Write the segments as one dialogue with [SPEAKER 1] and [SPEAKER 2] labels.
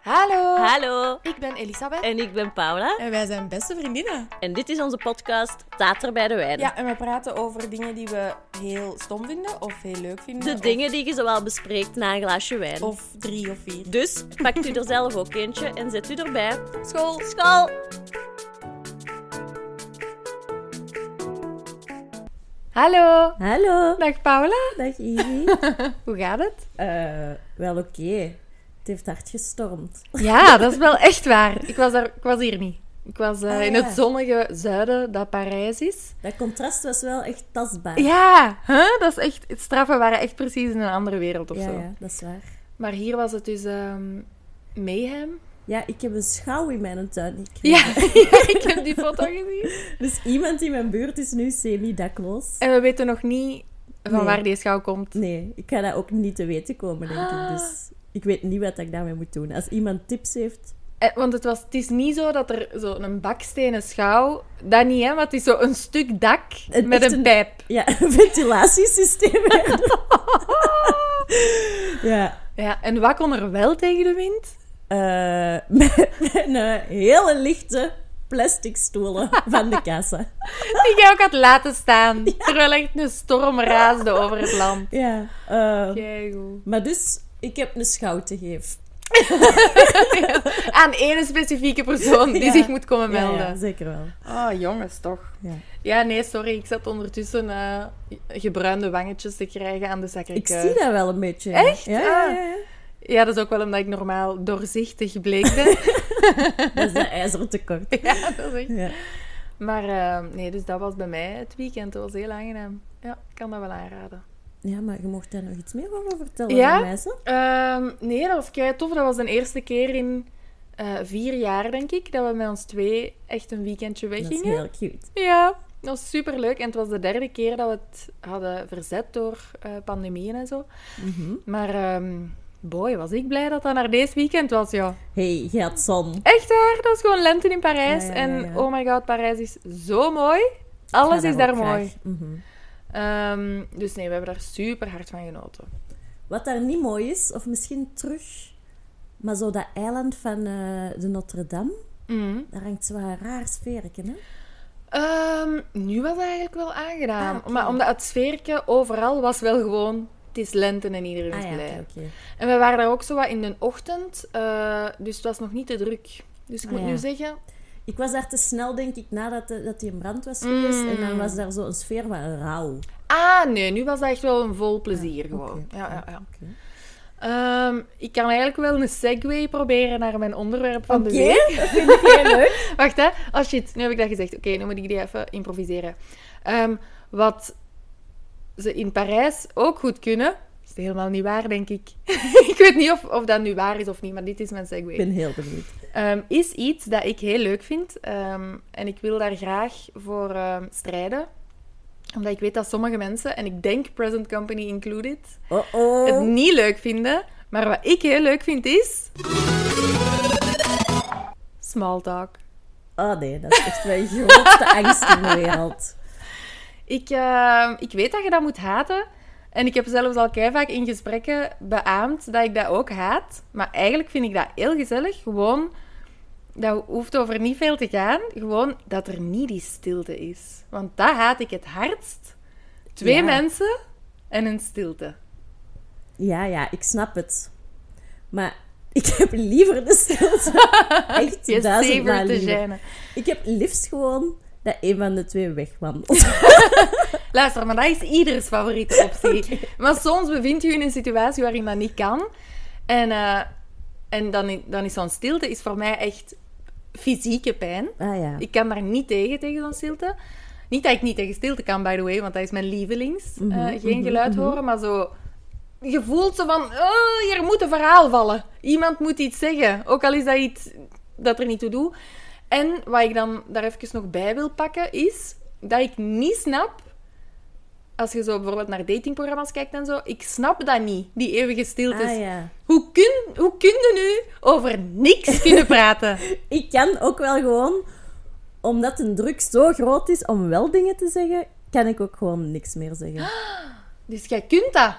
[SPEAKER 1] Hallo,
[SPEAKER 2] Hallo,
[SPEAKER 1] ik ben Elisabeth
[SPEAKER 2] en ik ben Paula.
[SPEAKER 1] en wij zijn beste vriendinnen.
[SPEAKER 2] En dit is onze podcast Tater bij de Wijn.
[SPEAKER 1] Ja, en we praten over dingen die we heel stom vinden of heel leuk vinden.
[SPEAKER 2] de
[SPEAKER 1] of-
[SPEAKER 2] dingen die je zowel bespreekt na een glaasje wijn.
[SPEAKER 3] Oh.
[SPEAKER 1] Of drie of vier.
[SPEAKER 2] Dus pakt u er zelf ook eentje en zet u erbij. School, school!
[SPEAKER 1] Hallo,
[SPEAKER 2] Hallo,
[SPEAKER 1] dag Paula.
[SPEAKER 2] dag Izzy.
[SPEAKER 1] Hoe gaat het?
[SPEAKER 2] wel oké. Het heeft hard gestormd.
[SPEAKER 3] Ja, dat is wel echt waar. Ik was, daar, ik was hier niet. Ik was eh,
[SPEAKER 2] Ah,
[SPEAKER 3] in
[SPEAKER 2] ja.
[SPEAKER 3] het zonnige zuiden dat Parijs is.
[SPEAKER 2] Dat contrast was wel echt tastbaar.
[SPEAKER 3] Ja, Ah. hè? dat is echt. Het straffen waren echt precies in een andere wereld of zo.
[SPEAKER 2] dat is waar.
[SPEAKER 3] Maar hier was het dus ehm mayhem.
[SPEAKER 4] Ja, ik heb een schouw in mijn tuin. gekregen.
[SPEAKER 3] Ja, ja, ik heb die foto gezien.
[SPEAKER 4] Dus iemand in mijn buurt is nu semi-dakloos.
[SPEAKER 3] En we weten nog niet van
[SPEAKER 4] Nee.
[SPEAKER 3] waar die schouw komt.
[SPEAKER 4] Nee, ik ga dat ook niet te weten komen, denk ik.
[SPEAKER 3] Ah.
[SPEAKER 4] Dus ik weet niet wat ik daarmee moet doen. Als iemand tips heeft...
[SPEAKER 3] Eh, want het, was, het is niet zo dat er zo'n bakstenen schouw... Dat niet, hè? Want het is zo een stuk dak
[SPEAKER 4] Het
[SPEAKER 3] met
[SPEAKER 4] echt
[SPEAKER 3] een
[SPEAKER 4] een-
[SPEAKER 3] pijp.
[SPEAKER 4] Ja, een ventilatiesysteem. ja.
[SPEAKER 3] Ja, en wat kon er wel tegen de wind?
[SPEAKER 4] eh, met, met een hele lichte plastic stoelen van de kassa.
[SPEAKER 3] Die jij ook had laten staan. Terwijl echt een storm raasde over het land.
[SPEAKER 4] Ja. eh,
[SPEAKER 3] Keigoed.
[SPEAKER 4] maar dus, ik heb een schouw te geven.
[SPEAKER 3] Aan één specifieke persoon die
[SPEAKER 4] Ja.
[SPEAKER 3] zich moet komen
[SPEAKER 4] Ja, Ah, ja,
[SPEAKER 3] melden.
[SPEAKER 4] zeker wel.
[SPEAKER 3] Oh, jongens, toch.
[SPEAKER 4] Ja.
[SPEAKER 3] Ja, nee, sorry. Ik zat ondertussen eh, gebruinde wangetjes te krijgen aan de zakken.
[SPEAKER 4] Ik zie dat wel een beetje.
[SPEAKER 3] eh, Echt? Ah.
[SPEAKER 4] Ja, ja, ja, ja.
[SPEAKER 3] Ja, dat is ook wel omdat ik normaal doorzichtig bleek ben.
[SPEAKER 4] Dat is Dus dat ijzertekort.
[SPEAKER 3] ja, dat is echt...
[SPEAKER 4] Ja.
[SPEAKER 3] Maar eh, nee, dus dat was bij mij het weekend. Dat was heel aangenaam. Ja, ik kan dat wel aanraden.
[SPEAKER 4] Ja, maar je mocht daar nog iets meer over vertellen,
[SPEAKER 3] Ja?
[SPEAKER 4] ja? meisje.
[SPEAKER 3] Ehm, nee, dat was kei tof. Dat was de eerste keer in eh, vier jaar, denk ik, dat we met ons twee echt een weekendje
[SPEAKER 4] Dat is
[SPEAKER 3] weggingen.
[SPEAKER 4] heel cute.
[SPEAKER 3] Ja, dat was superleuk. En het was de derde keer dat we het hadden verzet door eh, pandemieën en zo.
[SPEAKER 4] Mhm.
[SPEAKER 3] Maar ehm, boy, was ik blij dat dat naar deze weekend was, ja.
[SPEAKER 4] hey, je had zon.
[SPEAKER 3] Echt waar, dat was gewoon lente in Parijs.
[SPEAKER 4] Ja, ja, ja,
[SPEAKER 3] En
[SPEAKER 4] ja.
[SPEAKER 3] oh my god, Parijs is zo mooi. Alles
[SPEAKER 4] Ja,
[SPEAKER 3] is
[SPEAKER 4] dat
[SPEAKER 3] daar
[SPEAKER 4] ook
[SPEAKER 3] mooi.
[SPEAKER 4] graag. Mhm.
[SPEAKER 3] Ehm, dus nee, we hebben daar super hard van genoten.
[SPEAKER 4] Wat daar niet mooi is, of misschien terug, maar zo dat eiland van eh, de Notre-Dame,
[SPEAKER 3] Mhm.
[SPEAKER 4] daar hangt zo'n raar sfeerken, hè?
[SPEAKER 3] Ehm, nu was het eigenlijk wel aangenaam.
[SPEAKER 4] Ah, oké.
[SPEAKER 3] Maar omdat het sfeerke overal was wel gewoon... Het is lente en iedereen is
[SPEAKER 4] Ah ja,
[SPEAKER 3] blij.
[SPEAKER 4] oké, oké.
[SPEAKER 3] En we waren daar ook zo wat in de ochtend, eh, dus het was nog niet te druk. Dus ik
[SPEAKER 4] Ah,
[SPEAKER 3] moet
[SPEAKER 4] ja.
[SPEAKER 3] nu zeggen...
[SPEAKER 4] Ik was daar te snel, denk ik, nadat de, dat die in brand was geweest.
[SPEAKER 3] Mm.
[SPEAKER 4] En dan was daar zo'n sfeer van rouw.
[SPEAKER 3] Ah, nee, nu was dat echt wel een vol plezier gewoon.
[SPEAKER 4] oké,
[SPEAKER 3] Ja, ja, ja.
[SPEAKER 4] oké.
[SPEAKER 3] Ehm, ik kan eigenlijk wel een segue proberen naar mijn onderwerp van de week.
[SPEAKER 4] Oké, dat vind ik heel leuk.
[SPEAKER 3] Wacht, hè. Oh shit, nu heb ik dat gezegd. Oké, nu moet ik die even improviseren. Ehm, wat ze in Parijs ook goed kunnen... Is helemaal niet waar, denk ik. ik weet niet of, of dat nu waar is of niet, maar dit is mijn segue.
[SPEAKER 4] Ik ben heel benieuwd.
[SPEAKER 3] Ehm, is iets dat ik heel leuk vind. ehm, en ik wil daar graag voor ehm, strijden. Omdat ik weet dat sommige mensen, en ik denk present company included,
[SPEAKER 4] Oh-oh.
[SPEAKER 3] het niet leuk vinden. Maar wat ik heel leuk vind is... Small talk.
[SPEAKER 4] Oh nee, dat is echt mijn grootste angst in de wereld.
[SPEAKER 3] Ik, ehm, ik weet dat je dat moet haten. En ik heb zelfs al kei vaak in gesprekken beaamd dat ik dat ook haat. Maar eigenlijk vind ik dat heel gezellig. Gewoon, dat hoeft over niet veel te gaan. Gewoon dat er niet die stilte is. Want dat haat ik het hardst. Twee
[SPEAKER 4] Ja.
[SPEAKER 3] mensen en een stilte.
[SPEAKER 4] Ja, ja, ik snap het. Maar ik heb liever de stilte. Echt
[SPEAKER 3] Je
[SPEAKER 4] duizendmaal
[SPEAKER 3] zever te
[SPEAKER 4] liever.
[SPEAKER 3] zijn.
[SPEAKER 4] Ik heb liefst gewoon dat een van de twee wegwandelt.
[SPEAKER 3] Luister, maar dat is ieders favoriete optie. Maar soms bevindt u je in een situatie waarin dat niet kan. En, eh, en dan, i- dan is zo'n stilte is voor mij echt fysieke pijn.
[SPEAKER 4] Ah ja.
[SPEAKER 3] Ik kan daar niet tegen, tegen zo'n stilte. Niet dat ik niet tegen stilte kan, by the way, want dat is mijn lievelings. Eh,
[SPEAKER 4] Mhm,
[SPEAKER 3] geen geluid horen, maar zo... Je voelt zo van, oh, hier moet een verhaal vallen. Iemand moet iets zeggen, ook al is dat iets dat er niet toe doet. En wat ik dan daar even nog bij wil pakken, is dat ik niet snap... Als je zo bijvoorbeeld naar datingprogramma's kijkt en zo, ik snap dat niet, die eeuwige stiltes.
[SPEAKER 4] Ah ja.
[SPEAKER 3] Hoe kun, hoe kun je nu over niks kunnen praten?
[SPEAKER 4] Ik kan ook wel gewoon, omdat de druk zo groot is om wel dingen te zeggen, kan ik ook gewoon niks meer zeggen.
[SPEAKER 3] Dus jij kunt dat.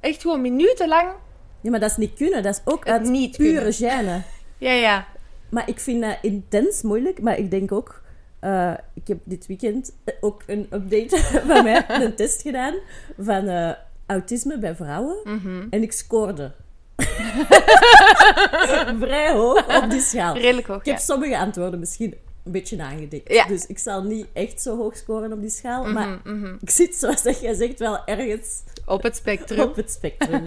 [SPEAKER 3] Echt gewoon minutenlang.
[SPEAKER 4] Ja, maar dat is niet kunnen. Dat is ook
[SPEAKER 3] Het
[SPEAKER 4] uit
[SPEAKER 3] niet
[SPEAKER 4] pure gêne.
[SPEAKER 3] Ja, ja.
[SPEAKER 4] Maar ik vind dat intens moeilijk. Maar ik denk ook... eh, ik heb dit weekend ook een update van mij, een test gedaan van eh, autisme bij vrouwen. En ik scoorde. Vrij hoog op die schaal.
[SPEAKER 3] Redelijk hoog,
[SPEAKER 4] Ik heb
[SPEAKER 3] ja.
[SPEAKER 4] sommige antwoorden misschien een beetje aangedikt.
[SPEAKER 3] Ja.
[SPEAKER 4] Dus ik zal niet echt zo hoog scoren op die schaal. Maar
[SPEAKER 3] Mhm, mhm.
[SPEAKER 4] ik zit, zoals dat jij zegt, wel ergens
[SPEAKER 3] Op het spectrum.
[SPEAKER 4] op het spectrum.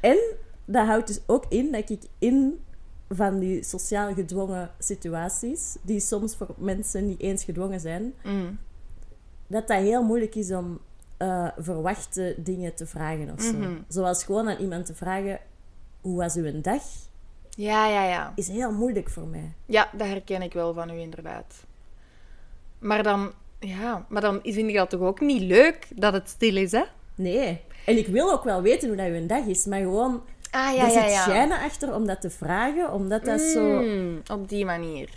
[SPEAKER 4] en dat houdt dus ook in dat ik in van die sociaal gedwongen situaties, die soms voor mensen niet eens gedwongen zijn,
[SPEAKER 3] Mm.
[SPEAKER 4] dat dat heel moeilijk is om eh, verwachte dingen te vragen of zo.
[SPEAKER 3] Mhm.
[SPEAKER 4] Zoals gewoon aan iemand te vragen, hoe was uw dag?
[SPEAKER 3] Ja, ja, ja.
[SPEAKER 4] Is heel moeilijk voor mij.
[SPEAKER 3] Ja, dat herken ik wel van u inderdaad. Maar dan, ja, maar dan vind ik dat toch ook niet leuk dat het stil is, hè?
[SPEAKER 4] Nee. En ik wil ook wel weten hoe dat uw dag is, maar gewoon,
[SPEAKER 3] Ah,
[SPEAKER 4] er zit schijnen achter om dat te vragen, omdat dat zo...
[SPEAKER 3] Mm, op die manier.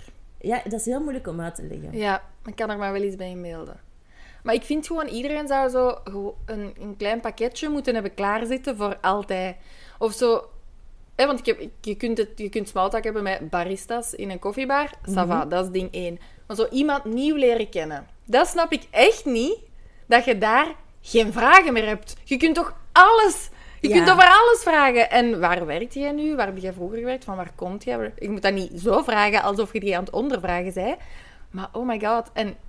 [SPEAKER 4] Ja, dat is heel moeilijk om uit te leggen.
[SPEAKER 3] Ja, ik kan er maar wel iets bij inbeelden. Maar ik vind gewoon, iedereen zou zo gewo- een, een klein pakketje moeten hebben klaarzitten voor altijd. Of zo... Hè, want ik heb, ik- je kunt, het, je kunt smalltalk hebben met baristas in een koffiebar. Ça va, dat is ding één. Maar zo iemand nieuw leren kennen. Dat snap ik echt niet. Dat je daar geen vragen meer hebt. Je kunt toch alles... Je
[SPEAKER 4] Ja.
[SPEAKER 3] kunt over alles vragen. En waar werkt jij nu? Waar heb jij vroeger gewerkt? Van waar komt jij? Je moet dat niet zo vragen alsof je die aan het ondervragen bent. Maar oh my god. En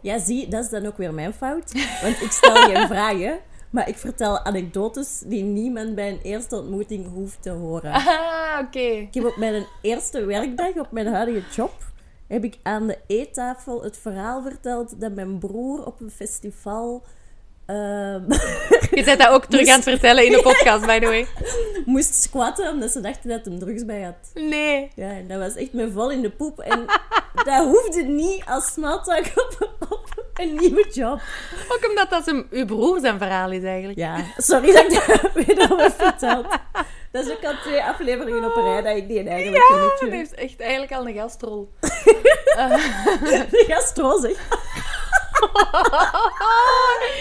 [SPEAKER 4] Ja, zie, dat is dan ook weer mijn fout. Want ik stel geen vragen, maar ik vertel anekdotes die niemand bij een eerste ontmoeting hoeft te horen.
[SPEAKER 3] ah, oké.
[SPEAKER 4] Ik heb op mijn eerste werkdag, op mijn huidige job, heb ik aan de eettafel het verhaal verteld dat mijn broer op een festival ehm,
[SPEAKER 3] Je bent dat ook terug aan het vertellen in de podcast, by the way.
[SPEAKER 4] moest squatten omdat ze dachten dat hem drugs bij had.
[SPEAKER 3] Nee.
[SPEAKER 4] Ja, en dat was echt mijn val in de poep. En dat hoefde niet als smalltalk op, op een nieuwe job.
[SPEAKER 3] Ook omdat dat zijn, uw broer zijn verhaal is eigenlijk.
[SPEAKER 4] Ja, sorry dat ik dat weer over verteld. Dat is ook al twee afleveringen op een rij dat ik die eigenlijk
[SPEAKER 3] Ja,
[SPEAKER 4] een
[SPEAKER 3] dat
[SPEAKER 4] beetje...
[SPEAKER 3] heeft echt eigenlijk al een gastrol.
[SPEAKER 4] De gastro zeg.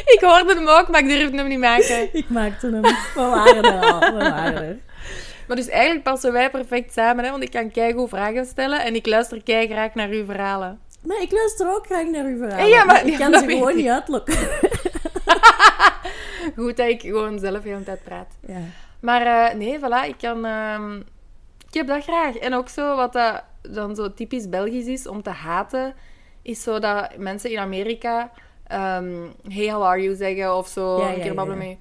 [SPEAKER 3] ik hoorde hem ook, maar ik durfde hem niet maken.
[SPEAKER 4] Ik maakte hem. We waren er al, we waren er.
[SPEAKER 3] Maar dus eigenlijk passen wij perfect samen, hè, want ik kan keigoed vragen stellen en ik luister kei graag naar uw verhalen.
[SPEAKER 4] Maar ik luister ook graag naar uw verhaal.
[SPEAKER 3] Ja, ja, maar-
[SPEAKER 4] ik
[SPEAKER 3] ja,
[SPEAKER 4] kan
[SPEAKER 3] dat
[SPEAKER 4] ze
[SPEAKER 3] weet
[SPEAKER 4] gewoon
[SPEAKER 3] ik.
[SPEAKER 4] niet uitlokken.
[SPEAKER 3] Goed dat ik gewoon zelf heel de tijd praat.
[SPEAKER 4] Ja.
[SPEAKER 3] Maar eh, nee, voilà, ik kan... ehm, ik heb dat graag. En ook zo, wat dat dan zo typisch Belgisch is om te haten, is zo dat mensen in Amerika ehm, hey, how are you zeggen of zo,
[SPEAKER 4] Ja,
[SPEAKER 3] een
[SPEAKER 4] ja,
[SPEAKER 3] keer
[SPEAKER 4] ja,
[SPEAKER 3] babbelen
[SPEAKER 4] ja.
[SPEAKER 3] mee.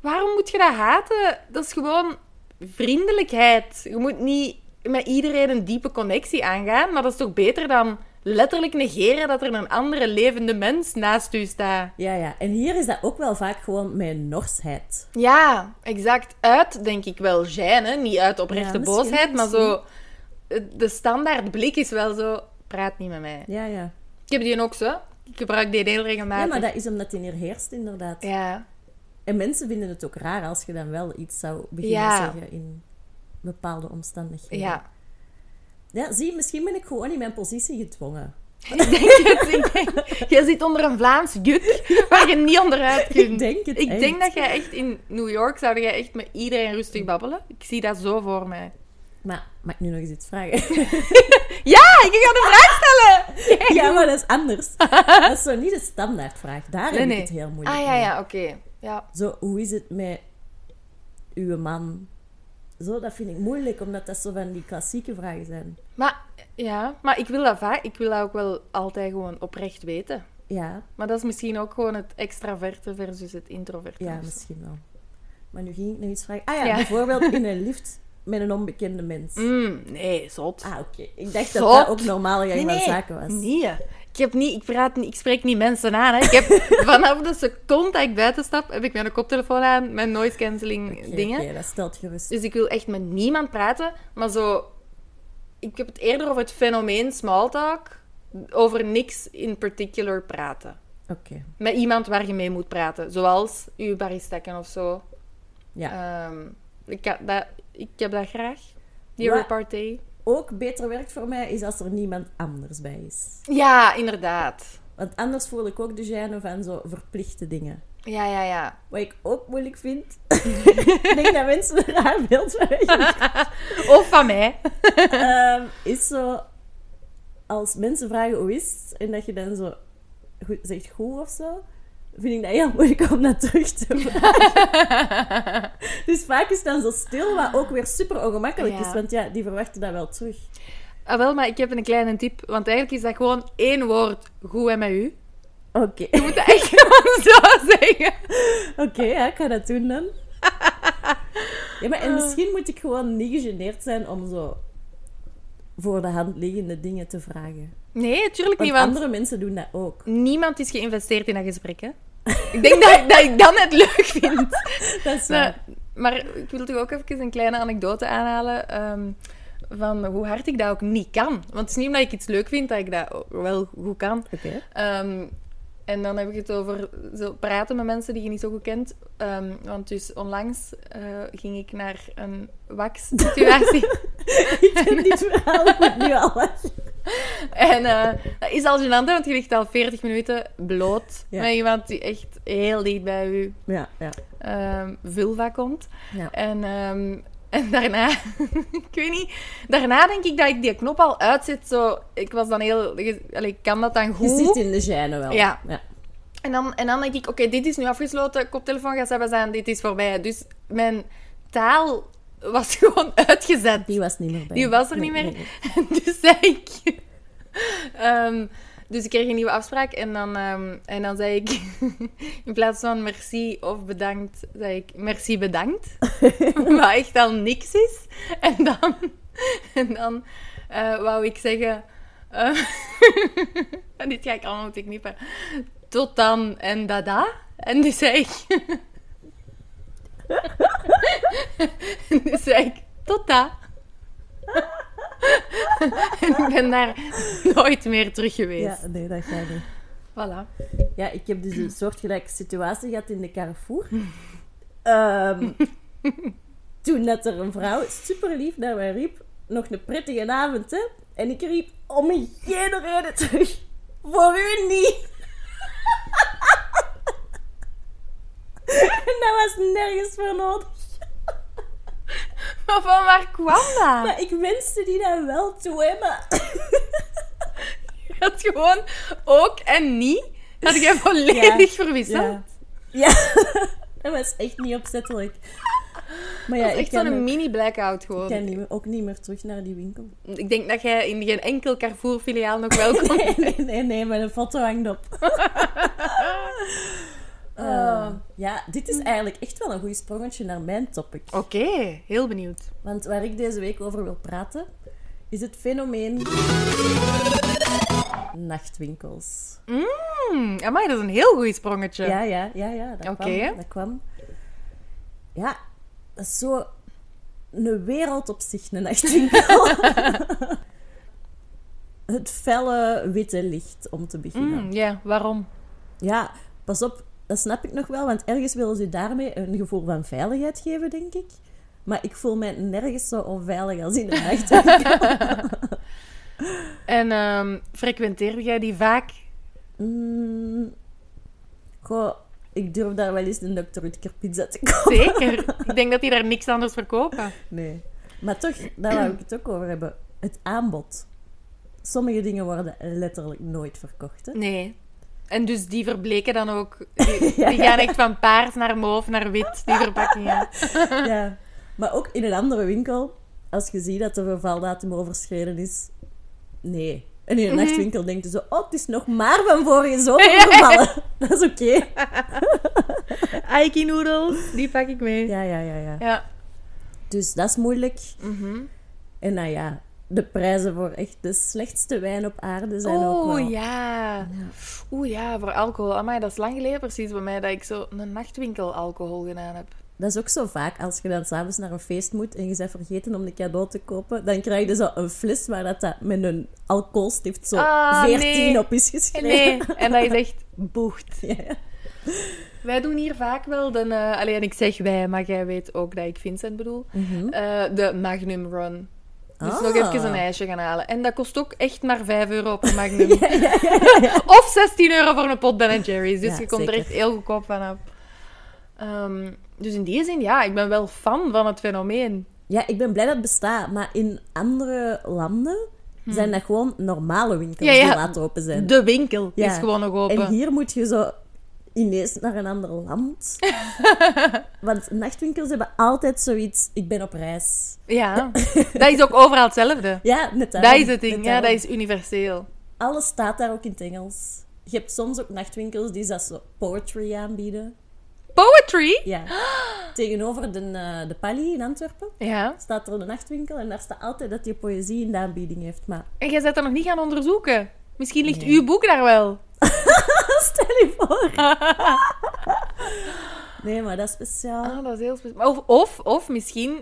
[SPEAKER 3] Waarom moet je dat haten? Dat is gewoon vriendelijkheid. Je moet niet met iedereen een diepe connectie aangaan, maar dat is toch beter dan letterlijk negeren dat er een andere levende mens naast u staat.
[SPEAKER 4] ja, ja. En hier is dat ook wel vaak gewoon mijn norsheid.
[SPEAKER 3] Ja, exact. Uit, denk ik wel, gêne. Niet uit oprechte
[SPEAKER 4] Ja, misschien,
[SPEAKER 3] boosheid, maar zo... De standaard blik is wel zo... Praat niet met mij.
[SPEAKER 4] Ja, ja.
[SPEAKER 3] Ik heb die ook zo. Ik gebruik die heel regelmatig.
[SPEAKER 4] Ja, maar dat is omdat die hier heerst, inderdaad.
[SPEAKER 3] Ja.
[SPEAKER 4] En mensen vinden het ook raar als je dan wel iets zou beginnen
[SPEAKER 3] Ja.
[SPEAKER 4] zeggen in bepaalde omstandigheden.
[SPEAKER 3] Ja.
[SPEAKER 4] Ja, zie, misschien ben ik gewoon in mijn positie gedwongen.
[SPEAKER 3] ik denk het. Ik denk... Jij zit onder een Vlaams juk waar je niet onderuit kunt.
[SPEAKER 4] Ik denk het
[SPEAKER 3] Ik
[SPEAKER 4] echt.
[SPEAKER 3] denk dat jij echt in New York... Zou jij echt met iedereen rustig babbelen? Ik zie dat zo voor mij.
[SPEAKER 4] Maar mag ik nu nog eens iets vragen?
[SPEAKER 3] Ja, ik ga de vraag stellen!
[SPEAKER 4] ja, maar dat is anders. Dat is zo niet de standaardvraag. Daar
[SPEAKER 3] Nee,
[SPEAKER 4] heb
[SPEAKER 3] nee.
[SPEAKER 4] ik het heel moeilijk
[SPEAKER 3] Ah, ja,
[SPEAKER 4] mee.
[SPEAKER 3] ja, oké. Ja.
[SPEAKER 4] Zo, hoe is het met uw man? Zo, dat vind ik moeilijk, omdat dat zo van die klassieke vragen zijn.
[SPEAKER 3] Maar, ja, maar ik wil dat vaak... Ik wil dat ook wel altijd gewoon oprecht weten.
[SPEAKER 4] Ja,
[SPEAKER 3] Maar dat is misschien ook gewoon het extraverte versus het introverte.
[SPEAKER 4] ja, misschien wel. Maar nu ging ik nog iets vragen. Ah ja,
[SPEAKER 3] Ja.
[SPEAKER 4] bijvoorbeeld in een lift met een onbekende mens.
[SPEAKER 3] Mm, nee, zot.
[SPEAKER 4] Ah, oké. Ik dacht dat
[SPEAKER 3] Zot.
[SPEAKER 4] dat ook normale gang van zaken was.
[SPEAKER 3] nee. Ik, heb niet, ik, praat niet, ik spreek niet mensen aan. Hè. Ik heb, vanaf de seconde dat ik buiten stap, heb ik mijn koptelefoon aan, mijn noise cancelling
[SPEAKER 4] Oké,
[SPEAKER 3] dingen.
[SPEAKER 4] oké, dat stelt gerust.
[SPEAKER 3] Dus ik wil echt met niemand praten. Maar zo... Ik heb het eerder over het fenomeen smalltalk. Over niks in particular praten.
[SPEAKER 4] Oké,
[SPEAKER 3] Met iemand waar je mee moet praten. Zoals uw baristakken of zo.
[SPEAKER 4] ja.
[SPEAKER 3] Ehm, ik, ha- dat, ik heb dat graag. Die
[SPEAKER 4] Wa-
[SPEAKER 3] repartee.
[SPEAKER 4] ook beter werkt voor mij is als er niemand anders bij is.
[SPEAKER 3] Ja, inderdaad.
[SPEAKER 4] Want anders voel ik ook de gêne van zo verplichte dingen.
[SPEAKER 3] Ja, ja, ja.
[SPEAKER 4] Wat ik ook moeilijk vind. ik denk dat mensen een raar beeld van mij hebben.
[SPEAKER 3] Of van mij.
[SPEAKER 4] Ehm, is zo... Als mensen vragen hoe is het, en dat je dan zo goed, zegt goed of zo, vind ik dat heel moeilijk om dat terug te vragen. dus vaak is het dan zo stil, wat ook weer super ongemakkelijk
[SPEAKER 3] Ja.
[SPEAKER 4] is. Want ja, die verwachten dat wel terug.
[SPEAKER 3] Ah, wel, maar ik heb een kleine tip. Want eigenlijk is dat gewoon één woord. Goed en met u.
[SPEAKER 4] Oké,
[SPEAKER 3] Je moet dat echt gewoon zo zeggen.
[SPEAKER 4] oké, ja, ik ga dat doen dan. Ja, maar en misschien moet ik gewoon niet gegeneerd zijn om zo voor de hand liggende dingen te vragen.
[SPEAKER 3] Nee, tuurlijk
[SPEAKER 4] Want
[SPEAKER 3] niet, want
[SPEAKER 4] andere mensen doen dat ook.
[SPEAKER 3] niemand is geïnvesteerd in dat gesprek, hè. Ik denk dat, dat ik dan het leuk vind.
[SPEAKER 4] Dat is
[SPEAKER 3] Nou,
[SPEAKER 4] waar.
[SPEAKER 3] maar ik wil toch ook even een kleine anekdote aanhalen ehm, van hoe hard ik dat ook niet kan. Want het is niet omdat ik iets leuk vind dat ik dat ook wel goed kan.
[SPEAKER 4] Oké.
[SPEAKER 3] Ehm, en dan heb ik het over zo praten met mensen die je niet zo goed kent. Ehm, want dus onlangs eh, ging ik naar een wax-situatie.
[SPEAKER 4] Ik ken dit verhaal, ik moet nu al lachen.
[SPEAKER 3] en eh, dat is al gênant, hè, want je ligt al 40 minuten bloot
[SPEAKER 4] Ja.
[SPEAKER 3] met iemand die echt heel dicht bij je
[SPEAKER 4] Ja, ja.
[SPEAKER 3] ehm, vulva komt.
[SPEAKER 4] Ja.
[SPEAKER 3] En, ehm, en daarna, ik weet niet, daarna denk ik dat ik die knop al uitzet. Zo, ik was dan heel, je- allee, ik kan dat dan
[SPEAKER 4] Je
[SPEAKER 3] goed.
[SPEAKER 4] zit in de gêne wel.
[SPEAKER 3] Ja.
[SPEAKER 4] ja.
[SPEAKER 3] En dan, en dan denk ik, oké, dit is nu afgesloten, koptelefoon gaat hebben zijn, dit is voorbij. Dus mijn taal was gewoon uitgezet.
[SPEAKER 4] Die was niet meer bij.
[SPEAKER 3] Die was er
[SPEAKER 4] Nee,
[SPEAKER 3] niet meer.
[SPEAKER 4] nee, nee.
[SPEAKER 3] dus zei ik... Ehm, dus ik kreeg een nieuwe afspraak en dan, ehm, en dan zei ik... in plaats van merci of bedankt, zei ik merci bedankt. wat echt al niks is. En dan... En dan eh, wou ik zeggen... eh, en dit ga ik allemaal moeten knippen. Tot dan en dada. En dus zei ik... en dus zei ik... Tot da. En ik ben daar nooit meer terug geweest.
[SPEAKER 4] Ja, nee, dat gaat niet.
[SPEAKER 3] Voilà.
[SPEAKER 4] Ja, ik heb dus een soortgelijke situatie gehad in de Carrefour. Ehm, toen dat er een vrouw super lief naar mij riep, nog een prettige avond, hè. En ik riep, om geen reden terug. Voor u niet. en dat was nergens voor nodig.
[SPEAKER 3] Maar van waar kwam dat?
[SPEAKER 4] Maar ik wenste die dat wel toe, hè, maar...
[SPEAKER 3] Je had gewoon ook en niet. Dat ik hem volledig verwisseld.
[SPEAKER 4] Ja. Ja. dat was echt niet opzettelijk. Maar ja,
[SPEAKER 3] Dat is
[SPEAKER 4] ik
[SPEAKER 3] echt
[SPEAKER 4] kan,
[SPEAKER 3] zo'n
[SPEAKER 4] ook,
[SPEAKER 3] mini-blackout
[SPEAKER 4] ik kan
[SPEAKER 3] gewoon.
[SPEAKER 4] niet meer- ook niet meer terug naar die winkel.
[SPEAKER 3] Ik denk dat jij in geen enkel Carrefour-filiaal nog welkom
[SPEAKER 4] Nee, nee, nee, nee, maar een foto hangt op. Eh,
[SPEAKER 3] Ah.
[SPEAKER 4] ja, dit is eigenlijk echt wel een goed sprongetje naar mijn topic.
[SPEAKER 3] Oké, heel benieuwd.
[SPEAKER 4] Want waar ik deze week over wil praten, is het fenomeen... Nachtwinkels.
[SPEAKER 3] Hmm, amai, dat is een heel goed sprongetje.
[SPEAKER 4] Ja, ja, ja, ja. Dat,
[SPEAKER 3] Oké.
[SPEAKER 4] kwam, dat kwam. Ja, dat is zo een wereld op zich, een nachtwinkel. het felle witte licht, om te beginnen.
[SPEAKER 3] Hmm, ja, waarom?
[SPEAKER 4] Ja, pas op, dat snap ik nog wel, want ergens willen ze daarmee een gevoel van veiligheid geven, denk ik. Maar ik voel mij nergens zo onveilig als in de nachtwinkel.
[SPEAKER 3] En ehm frequenteerde jij die vaak?
[SPEAKER 4] Mm. Goh, ik durf daar wel eens een Dr. Rutger pizza te kopen.
[SPEAKER 3] Zeker. ik denk dat die daar niks anders verkopen.
[SPEAKER 4] Nee. Maar toch, daar wou ik het ook over hebben. Het aanbod. Sommige dingen worden letterlijk nooit verkocht. Hè?
[SPEAKER 3] Nee. En dus die verbleken dan ook. Die,
[SPEAKER 4] Ja.
[SPEAKER 3] die gaan echt van paars naar mauve naar wit, die verpakkingen.
[SPEAKER 4] Ja. Maar ook in een andere winkel, als je ziet dat de vervaldatum overschreden is, nee. En in een nachtwinkel denkt je zo, oh, het is nog maar van vorige zomer vervallen. Dat is oké.
[SPEAKER 3] Aiki noodles, die pak ik mee. Ja.
[SPEAKER 4] Ja, ja, ja, ja.
[SPEAKER 3] ja.
[SPEAKER 4] Dus dat is moeilijk. En nou ja, de prijzen voor echt de slechtste wijn op aarde zijn ook wel...
[SPEAKER 3] Oeh, Oh, ja. Oeh, ja, voor alcohol. Amai, dat is lang geleden precies bij mij dat ik zo een nachtwinkel alcohol gedaan heb.
[SPEAKER 4] Dat is ook zo vaak, als je dan s'avonds naar een feest moet en je bent vergeten om een cadeau te kopen, dan krijg je zo een fles waar dat, dat met een alcoholstift zo
[SPEAKER 3] Ah,
[SPEAKER 4] 14
[SPEAKER 3] nee.
[SPEAKER 4] op is geschreven.
[SPEAKER 3] Nee, en dat is echt boegt.
[SPEAKER 4] Ja.
[SPEAKER 3] Wij doen hier vaak wel de... eh alleen ik zeg wij, maar jij weet ook dat ik Vincent bedoel. Eh, de Magnum Run. Dus
[SPEAKER 4] Hm? Mhm. Ah.
[SPEAKER 3] nog even een ijsje gaan halen. En dat kost ook echt maar 5 euro per Magnum. of 16 euro voor een pot Ben Jerry's. Dus
[SPEAKER 4] Ja,
[SPEAKER 3] je komt er
[SPEAKER 4] zeker.
[SPEAKER 3] echt heel goedkoop vanaf. Ehm, dus in die zin, ja, ik ben wel fan van het fenomeen.
[SPEAKER 4] Ja, ik ben blij dat het bestaat, maar in andere landen zijn dat gewoon normale winkels
[SPEAKER 3] Hmm. Ja, ja.
[SPEAKER 4] die laten open zijn.
[SPEAKER 3] De winkel
[SPEAKER 4] Ja.
[SPEAKER 3] is gewoon nog
[SPEAKER 4] En
[SPEAKER 3] open.
[SPEAKER 4] hier moet je zo ineens naar een ander land. Want nachtwinkels hebben altijd zoiets, ik ben op reis.
[SPEAKER 3] Ja, dat is ook overal hetzelfde.
[SPEAKER 4] Ja, net
[SPEAKER 3] Dat
[SPEAKER 4] daarom,
[SPEAKER 3] is het ding,
[SPEAKER 4] net
[SPEAKER 3] ja, dat
[SPEAKER 4] daarom.
[SPEAKER 3] is universeel.
[SPEAKER 4] Alles staat daar ook in het Engels. Je hebt soms ook nachtwinkels die dat zo poetry aanbieden.
[SPEAKER 3] Poetry?
[SPEAKER 4] Ja. Tegenover de, eh, de Pali in Antwerpen
[SPEAKER 3] Ja.
[SPEAKER 4] staat er een nachtwinkel en daar staat altijd dat je poëzie in de aanbieding heeft. Maar
[SPEAKER 3] En jij bent dat nog niet gaan onderzoeken. Misschien ligt uw boek daar wel.
[SPEAKER 4] stel je voor. nee, maar dat is speciaal.
[SPEAKER 3] Ah, dat is heel speciaal. Of, of, of misschien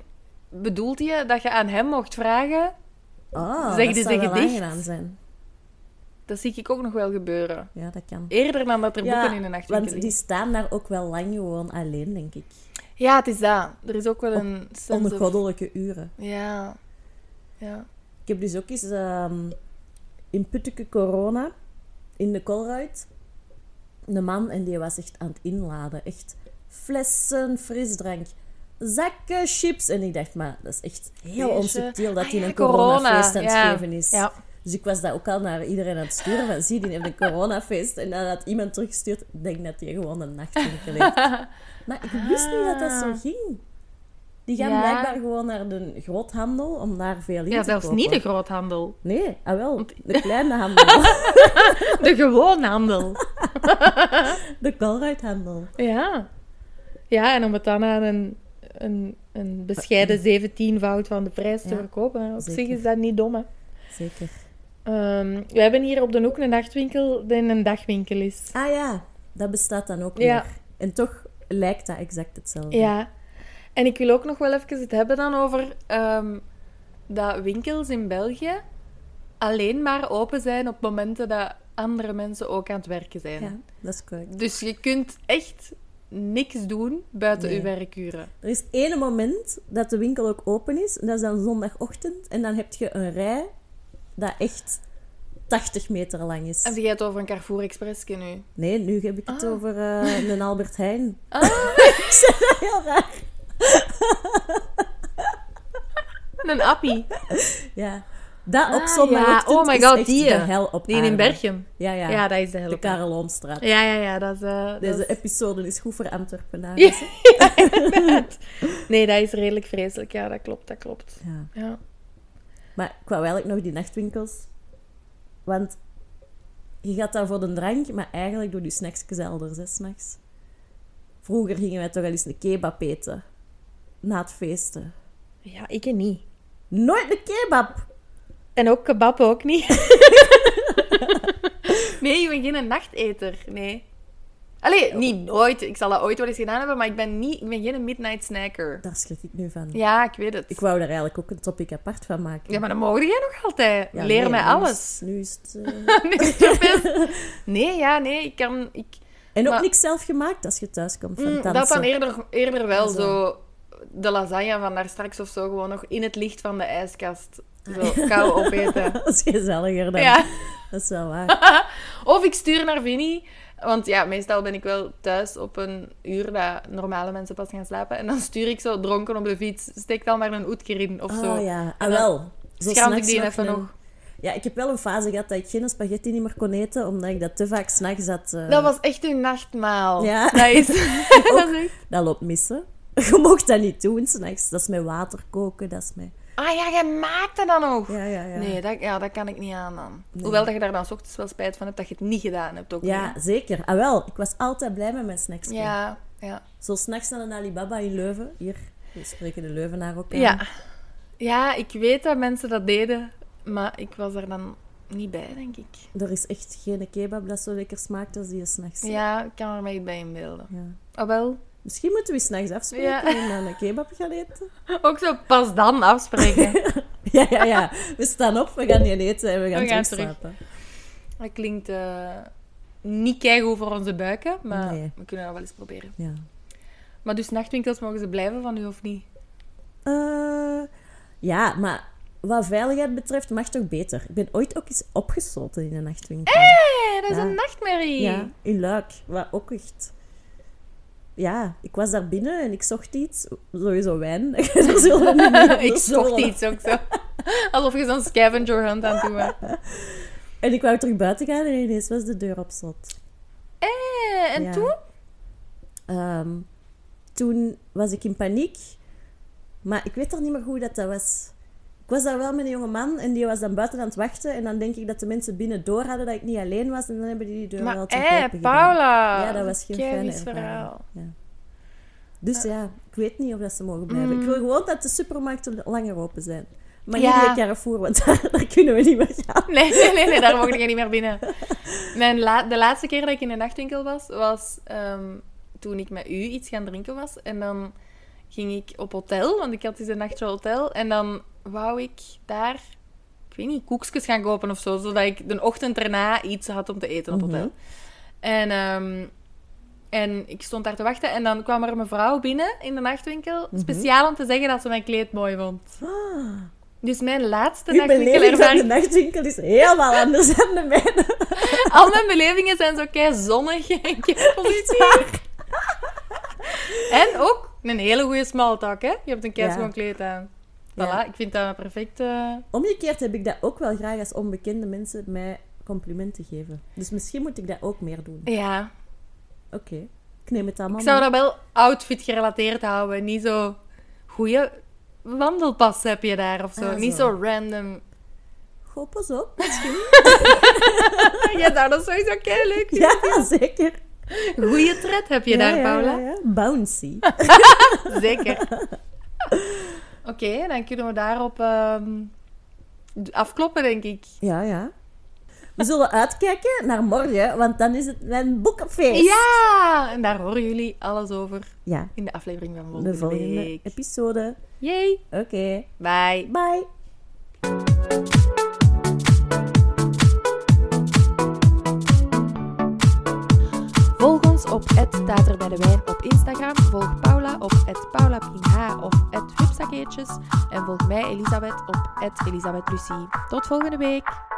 [SPEAKER 3] bedoelt je dat je aan hem mocht vragen.
[SPEAKER 4] Oh,
[SPEAKER 3] Zeg
[SPEAKER 4] dat
[SPEAKER 3] dus
[SPEAKER 4] zou
[SPEAKER 3] een
[SPEAKER 4] wel
[SPEAKER 3] gedicht.
[SPEAKER 4] aangenaam zijn.
[SPEAKER 3] Dat zie ik ook nog wel gebeuren.
[SPEAKER 4] Ja, dat kan.
[SPEAKER 3] Eerder dan dat er
[SPEAKER 4] Ja,
[SPEAKER 3] boeken in de nachtwinkel
[SPEAKER 4] Want die
[SPEAKER 3] liggen.
[SPEAKER 4] staan daar ook wel lang gewoon alleen, denk ik.
[SPEAKER 3] Ja, het is dat. Er is ook wel een... sense of-
[SPEAKER 4] Ongoddelijke uren.
[SPEAKER 3] Ja. Ja.
[SPEAKER 4] Ik heb dus ook eens ehm, in Putteke Corona, in de Colruyt, een man en die was echt aan het inladen. Echt flessen, frisdrank, zakken, chips. En ik dacht, maar dat is echt heel
[SPEAKER 3] Jeetje.
[SPEAKER 4] onsubtiel dat
[SPEAKER 3] Ah
[SPEAKER 4] hij
[SPEAKER 3] ja,
[SPEAKER 4] een
[SPEAKER 3] corona,
[SPEAKER 4] coronafeest aan het
[SPEAKER 3] ja.
[SPEAKER 4] geven is.
[SPEAKER 3] Ja.
[SPEAKER 4] Dus ik was dat ook al naar iedereen aan het sturen. Van, zie, die heeft een coronafeest. En dan had iemand teruggestuurd, ik denk dat hij gewoon een nachtwinkel heeft. Maar ik wist niet dat dat zo ging. Die
[SPEAKER 3] Ah.
[SPEAKER 4] gaan
[SPEAKER 3] Ja.
[SPEAKER 4] blijkbaar gewoon naar de groothandel om daar veel in
[SPEAKER 3] ja,
[SPEAKER 4] te
[SPEAKER 3] zelfs
[SPEAKER 4] kopen.
[SPEAKER 3] niet de groothandel.
[SPEAKER 4] Nee, ah wel, de kleine handel.
[SPEAKER 3] De gewone handel.
[SPEAKER 4] de Colruythandel.
[SPEAKER 3] Ja. Ja, en om het dan aan een, een, een bescheiden 17-voud van de prijs te
[SPEAKER 4] Ja,
[SPEAKER 3] verkopen. hè. Op zich
[SPEAKER 4] zeker.
[SPEAKER 3] is dat niet dom, hè.
[SPEAKER 4] Zeker.
[SPEAKER 3] Ehm, we hebben hier op de hoek een nachtwinkel die een dagwinkel is.
[SPEAKER 4] Ah ja, dat bestaat dan ook
[SPEAKER 3] Ja.
[SPEAKER 4] weer. En toch lijkt dat exact hetzelfde.
[SPEAKER 3] Ja. En ik wil ook nog wel even het hebben dan over ehm, dat winkels in België alleen maar open zijn op momenten dat andere mensen ook aan het werken zijn.
[SPEAKER 4] Ja, dat is correct.
[SPEAKER 3] Dus je kunt echt niks doen buiten
[SPEAKER 4] Nee.
[SPEAKER 3] je werkuren.
[SPEAKER 4] Er is één moment dat de winkel ook open is. En dat is dan zondagochtend. En dan heb je een rij dat echt 80 meter lang is.
[SPEAKER 3] En jij het over een Carrefour Express nu?
[SPEAKER 4] Nee, nu heb ik het
[SPEAKER 3] Ah.
[SPEAKER 4] over eh, een Albert Heijn.
[SPEAKER 3] Ah,
[SPEAKER 4] ik zeg dat heel raar.
[SPEAKER 3] een appie.
[SPEAKER 4] Ja. Dat op
[SPEAKER 3] Ah,
[SPEAKER 4] zondagochtend
[SPEAKER 3] ja. Oh my
[SPEAKER 4] is
[SPEAKER 3] God,
[SPEAKER 4] echt
[SPEAKER 3] die.
[SPEAKER 4] de hel op
[SPEAKER 3] Die in
[SPEAKER 4] aarde.
[SPEAKER 3] Bergen.
[SPEAKER 4] Ja, ja.
[SPEAKER 3] Ja. dat is de
[SPEAKER 4] de
[SPEAKER 3] helft.
[SPEAKER 4] Karel Oomstraat.
[SPEAKER 3] Ja, ja, ja, dat is... eh, dat is-
[SPEAKER 4] Deze episode is goed voor Antwerpenaren.
[SPEAKER 3] Ja, inderdaad. Nee, dat is redelijk vreselijk. Ja, dat klopt, dat klopt.
[SPEAKER 4] Ja.
[SPEAKER 3] Ja.
[SPEAKER 4] Maar ik wou eigenlijk nog die nachtwinkels. Want je gaat daar voor de drank, maar eigenlijk doe je snacksjes elders, hè, s'nachts. Vroeger gingen wij toch wel eens een kebab eten. Na het feesten.
[SPEAKER 3] Ja, ik niet.
[SPEAKER 4] Nooit een kebab!
[SPEAKER 3] En ook kebab ook niet. nee, ik ben geen nachteter. Nee. Allee, niet nooit. Ik zal dat ooit wel eens gedaan hebben, maar ik ben, niet, ik ben geen midnight snacker.
[SPEAKER 4] Daar schrik ik nu van.
[SPEAKER 3] Ja, ik weet het.
[SPEAKER 4] Ik wou daar eigenlijk ook een topic apart van maken.
[SPEAKER 3] Ja, maar dan mogen jij nog altijd.
[SPEAKER 4] Ja,
[SPEAKER 3] Leer
[SPEAKER 4] nee,
[SPEAKER 3] mij
[SPEAKER 4] nu is-
[SPEAKER 3] alles.
[SPEAKER 4] Nu is het, eh,
[SPEAKER 3] Nu is het best. nee, ja, nee. Ik kan... Ik,
[SPEAKER 4] En ook
[SPEAKER 3] Maar-
[SPEAKER 4] niks zelf gemaakt als je thuis komt van
[SPEAKER 3] Mm,
[SPEAKER 4] dansen.
[SPEAKER 3] dat dan eerder, eerder wel
[SPEAKER 4] Zo.
[SPEAKER 3] zo. de lasagne van daar straks of zo gewoon nog in het licht van de ijskast zo kou opeten.
[SPEAKER 4] dat is gezelliger Ah. dan.
[SPEAKER 3] Ja.
[SPEAKER 4] Dat is wel waar.
[SPEAKER 3] Of ik stuur naar Vinnie. Want ja, meestal ben ik wel thuis op een uur dat normale mensen pas gaan slapen. En dan stuur ik zo dronken op de fiets. Steek dan maar een oetker in of zo.
[SPEAKER 4] Oh ja, ah
[SPEAKER 3] En dan
[SPEAKER 4] wel. Zo
[SPEAKER 3] Schrand ik
[SPEAKER 4] s'nachts
[SPEAKER 3] die even
[SPEAKER 4] een-
[SPEAKER 3] nog.
[SPEAKER 4] Ja, ik heb wel een fase gehad dat ik geen spaghetti niet meer kon eten, omdat ik dat te vaak s'nachts had. eh,
[SPEAKER 3] Dat was echt een nachtmaal.
[SPEAKER 4] Ja.
[SPEAKER 3] Dat is... dat is echt-
[SPEAKER 4] dat loopt missen. Je mocht dat niet doen s'nachts. Dat is met water koken, dat is met...
[SPEAKER 3] Ah ja, jij maakte dat nog.
[SPEAKER 4] Ja, ja, ja.
[SPEAKER 3] Nee, dat, ja, dat kan ik niet aan dan. Hoewel dat je daar dan 's ochtends wel spijt van hebt dat je het niet gedaan hebt ook
[SPEAKER 4] Ja,
[SPEAKER 3] niet.
[SPEAKER 4] zeker. Ah wel, ik was altijd blij met mijn snacks.
[SPEAKER 3] Ja, ja.
[SPEAKER 4] Zo s'nachts naar een Alibaba in Leuven. Hier, we spreken de Leuvenaar ook aan.
[SPEAKER 3] Ja. ja, ik weet dat mensen dat deden, maar ik was er dan niet bij, denk ik.
[SPEAKER 4] Er is echt geen kebab dat zo lekker smaakt als die s'nachts.
[SPEAKER 3] Ja, ik kan er mij iets bij inbeelden.
[SPEAKER 4] ja.
[SPEAKER 3] Oh wel.
[SPEAKER 4] Misschien moeten we s'nachts afspreken
[SPEAKER 3] Ja.
[SPEAKER 4] en dan een kebab gaan eten.
[SPEAKER 3] Ook zo pas dan afspreken.
[SPEAKER 4] Ja, ja, ja. We staan op, we gaan niet eten en we gaan,
[SPEAKER 3] We gaan
[SPEAKER 4] terug
[SPEAKER 3] terug.
[SPEAKER 4] slapen.
[SPEAKER 3] dat klinkt eh, niet keigoed voor onze buiken, maar
[SPEAKER 4] Nee.
[SPEAKER 3] we kunnen dat wel eens proberen.
[SPEAKER 4] Ja.
[SPEAKER 3] Maar dus nachtwinkels mogen ze blijven van u of niet?
[SPEAKER 4] Eh, ja, maar wat veiligheid betreft mag toch beter. Ik ben ooit ook eens opgesloten in een nachtwinkel.
[SPEAKER 3] Hé, dat is
[SPEAKER 4] Ja.
[SPEAKER 3] een nachtmerrie.
[SPEAKER 4] Ja, in Luik. Wat ook echt... ja, ik was daar binnen en ik zocht iets. Sowieso wijn. dat zullen we niet op de
[SPEAKER 3] ik zocht
[SPEAKER 4] scholen.
[SPEAKER 3] iets ook zo. Alsof je zo'n scavenger hunt aan toe was.
[SPEAKER 4] En ik wou terug buiten gaan en ineens was de deur op slot.
[SPEAKER 3] Eh, en
[SPEAKER 4] Ja.
[SPEAKER 3] toen?
[SPEAKER 4] Ehm, toen was ik in paniek. Maar ik weet toch niet meer hoe dat, dat was. Ik was daar wel met een jonge man en die was dan buiten aan het wachten. En dan denk ik dat de mensen binnen door hadden dat ik niet alleen was. En dan hebben die die deur
[SPEAKER 3] Maar
[SPEAKER 4] wel
[SPEAKER 3] eh,
[SPEAKER 4] terug open gedaan.
[SPEAKER 3] Paula.
[SPEAKER 4] Ja, dat was geen
[SPEAKER 3] Kei
[SPEAKER 4] fijne
[SPEAKER 3] vies
[SPEAKER 4] ervaring.
[SPEAKER 3] verhaal.
[SPEAKER 4] Dus ja, ik weet niet of dat ze mogen blijven. Ik wil gewoon dat de supermarkten langer open zijn. Maar
[SPEAKER 3] Mm. Ja.
[SPEAKER 4] niet de Carrefour, want daar, daar kunnen we niet meer gaan.
[SPEAKER 3] Nee, nee, nee, nee, daar mocht je niet meer binnen. Mijn la- de laatste keer dat ik in een nachtwinkel was, was ehm, toen ik met u iets gaan drinken was. En dan ging ik op hotel, want ik had dus een nachtje hotel. En dan wou ik daar, ik weet niet, koekjes gaan kopen of zo. Zodat ik de ochtend erna iets had om te eten op hotel. En, ehm, en ik stond daar te wachten. En dan kwam er een mevrouw binnen in de nachtwinkel. Speciaal om te zeggen dat ze mijn kleed mooi vond. Dus mijn laatste
[SPEAKER 4] Uw beleving van
[SPEAKER 3] nachtwinkelervaring...
[SPEAKER 4] de nachtwinkel is helemaal anders dan de mijne.
[SPEAKER 3] Al mijn belevingen zijn zo kei zonnig en kei positief. En ook een hele goede smaltak, hè? Je hebt een kei
[SPEAKER 4] Ja.
[SPEAKER 3] schoon kleed aan. Voilà,
[SPEAKER 4] Ja.
[SPEAKER 3] ik vind dat een perfecte...
[SPEAKER 4] Omgekeerd heb ik dat ook wel graag als onbekende mensen mij complimenten geven. Dus misschien moet ik dat ook meer doen.
[SPEAKER 3] Ja.
[SPEAKER 4] Oké, ik neem het allemaal
[SPEAKER 3] Ik zou
[SPEAKER 4] mee.
[SPEAKER 3] dat wel outfit gerelateerd houden. Niet zo... Goeie wandelpas heb je daar of zo.
[SPEAKER 4] Ah,
[SPEAKER 3] Niet
[SPEAKER 4] zo.
[SPEAKER 3] zo random.
[SPEAKER 4] Goh, pas op.
[SPEAKER 3] Ja, nou, dat is sowieso kei leuk.
[SPEAKER 4] Ja, zeker.
[SPEAKER 3] Goeie tred heb je daar,
[SPEAKER 4] ja, ja,
[SPEAKER 3] Paula.
[SPEAKER 4] ja, ja. Bouncy.
[SPEAKER 3] Zeker. Oké, dan kunnen we daarop ehm, afkloppen, denk ik.
[SPEAKER 4] Ja, ja. We zullen uitkijken naar morgen, want dan is het mijn boekenfeest.
[SPEAKER 3] Ja! En daar horen jullie alles over
[SPEAKER 4] Ja,
[SPEAKER 3] in de aflevering van volgende,
[SPEAKER 4] de volgende
[SPEAKER 3] week.
[SPEAKER 4] episode.
[SPEAKER 3] Yay!
[SPEAKER 4] Oké,
[SPEAKER 3] Bye!
[SPEAKER 4] bye.
[SPEAKER 3] Volg ons op Tater bij de Wijn op Instagram. Volg Paula op @paulapinh of @hupsakeetjes. En volg mij, Elisabeth, op Elisabeth Lucie. Tot volgende week!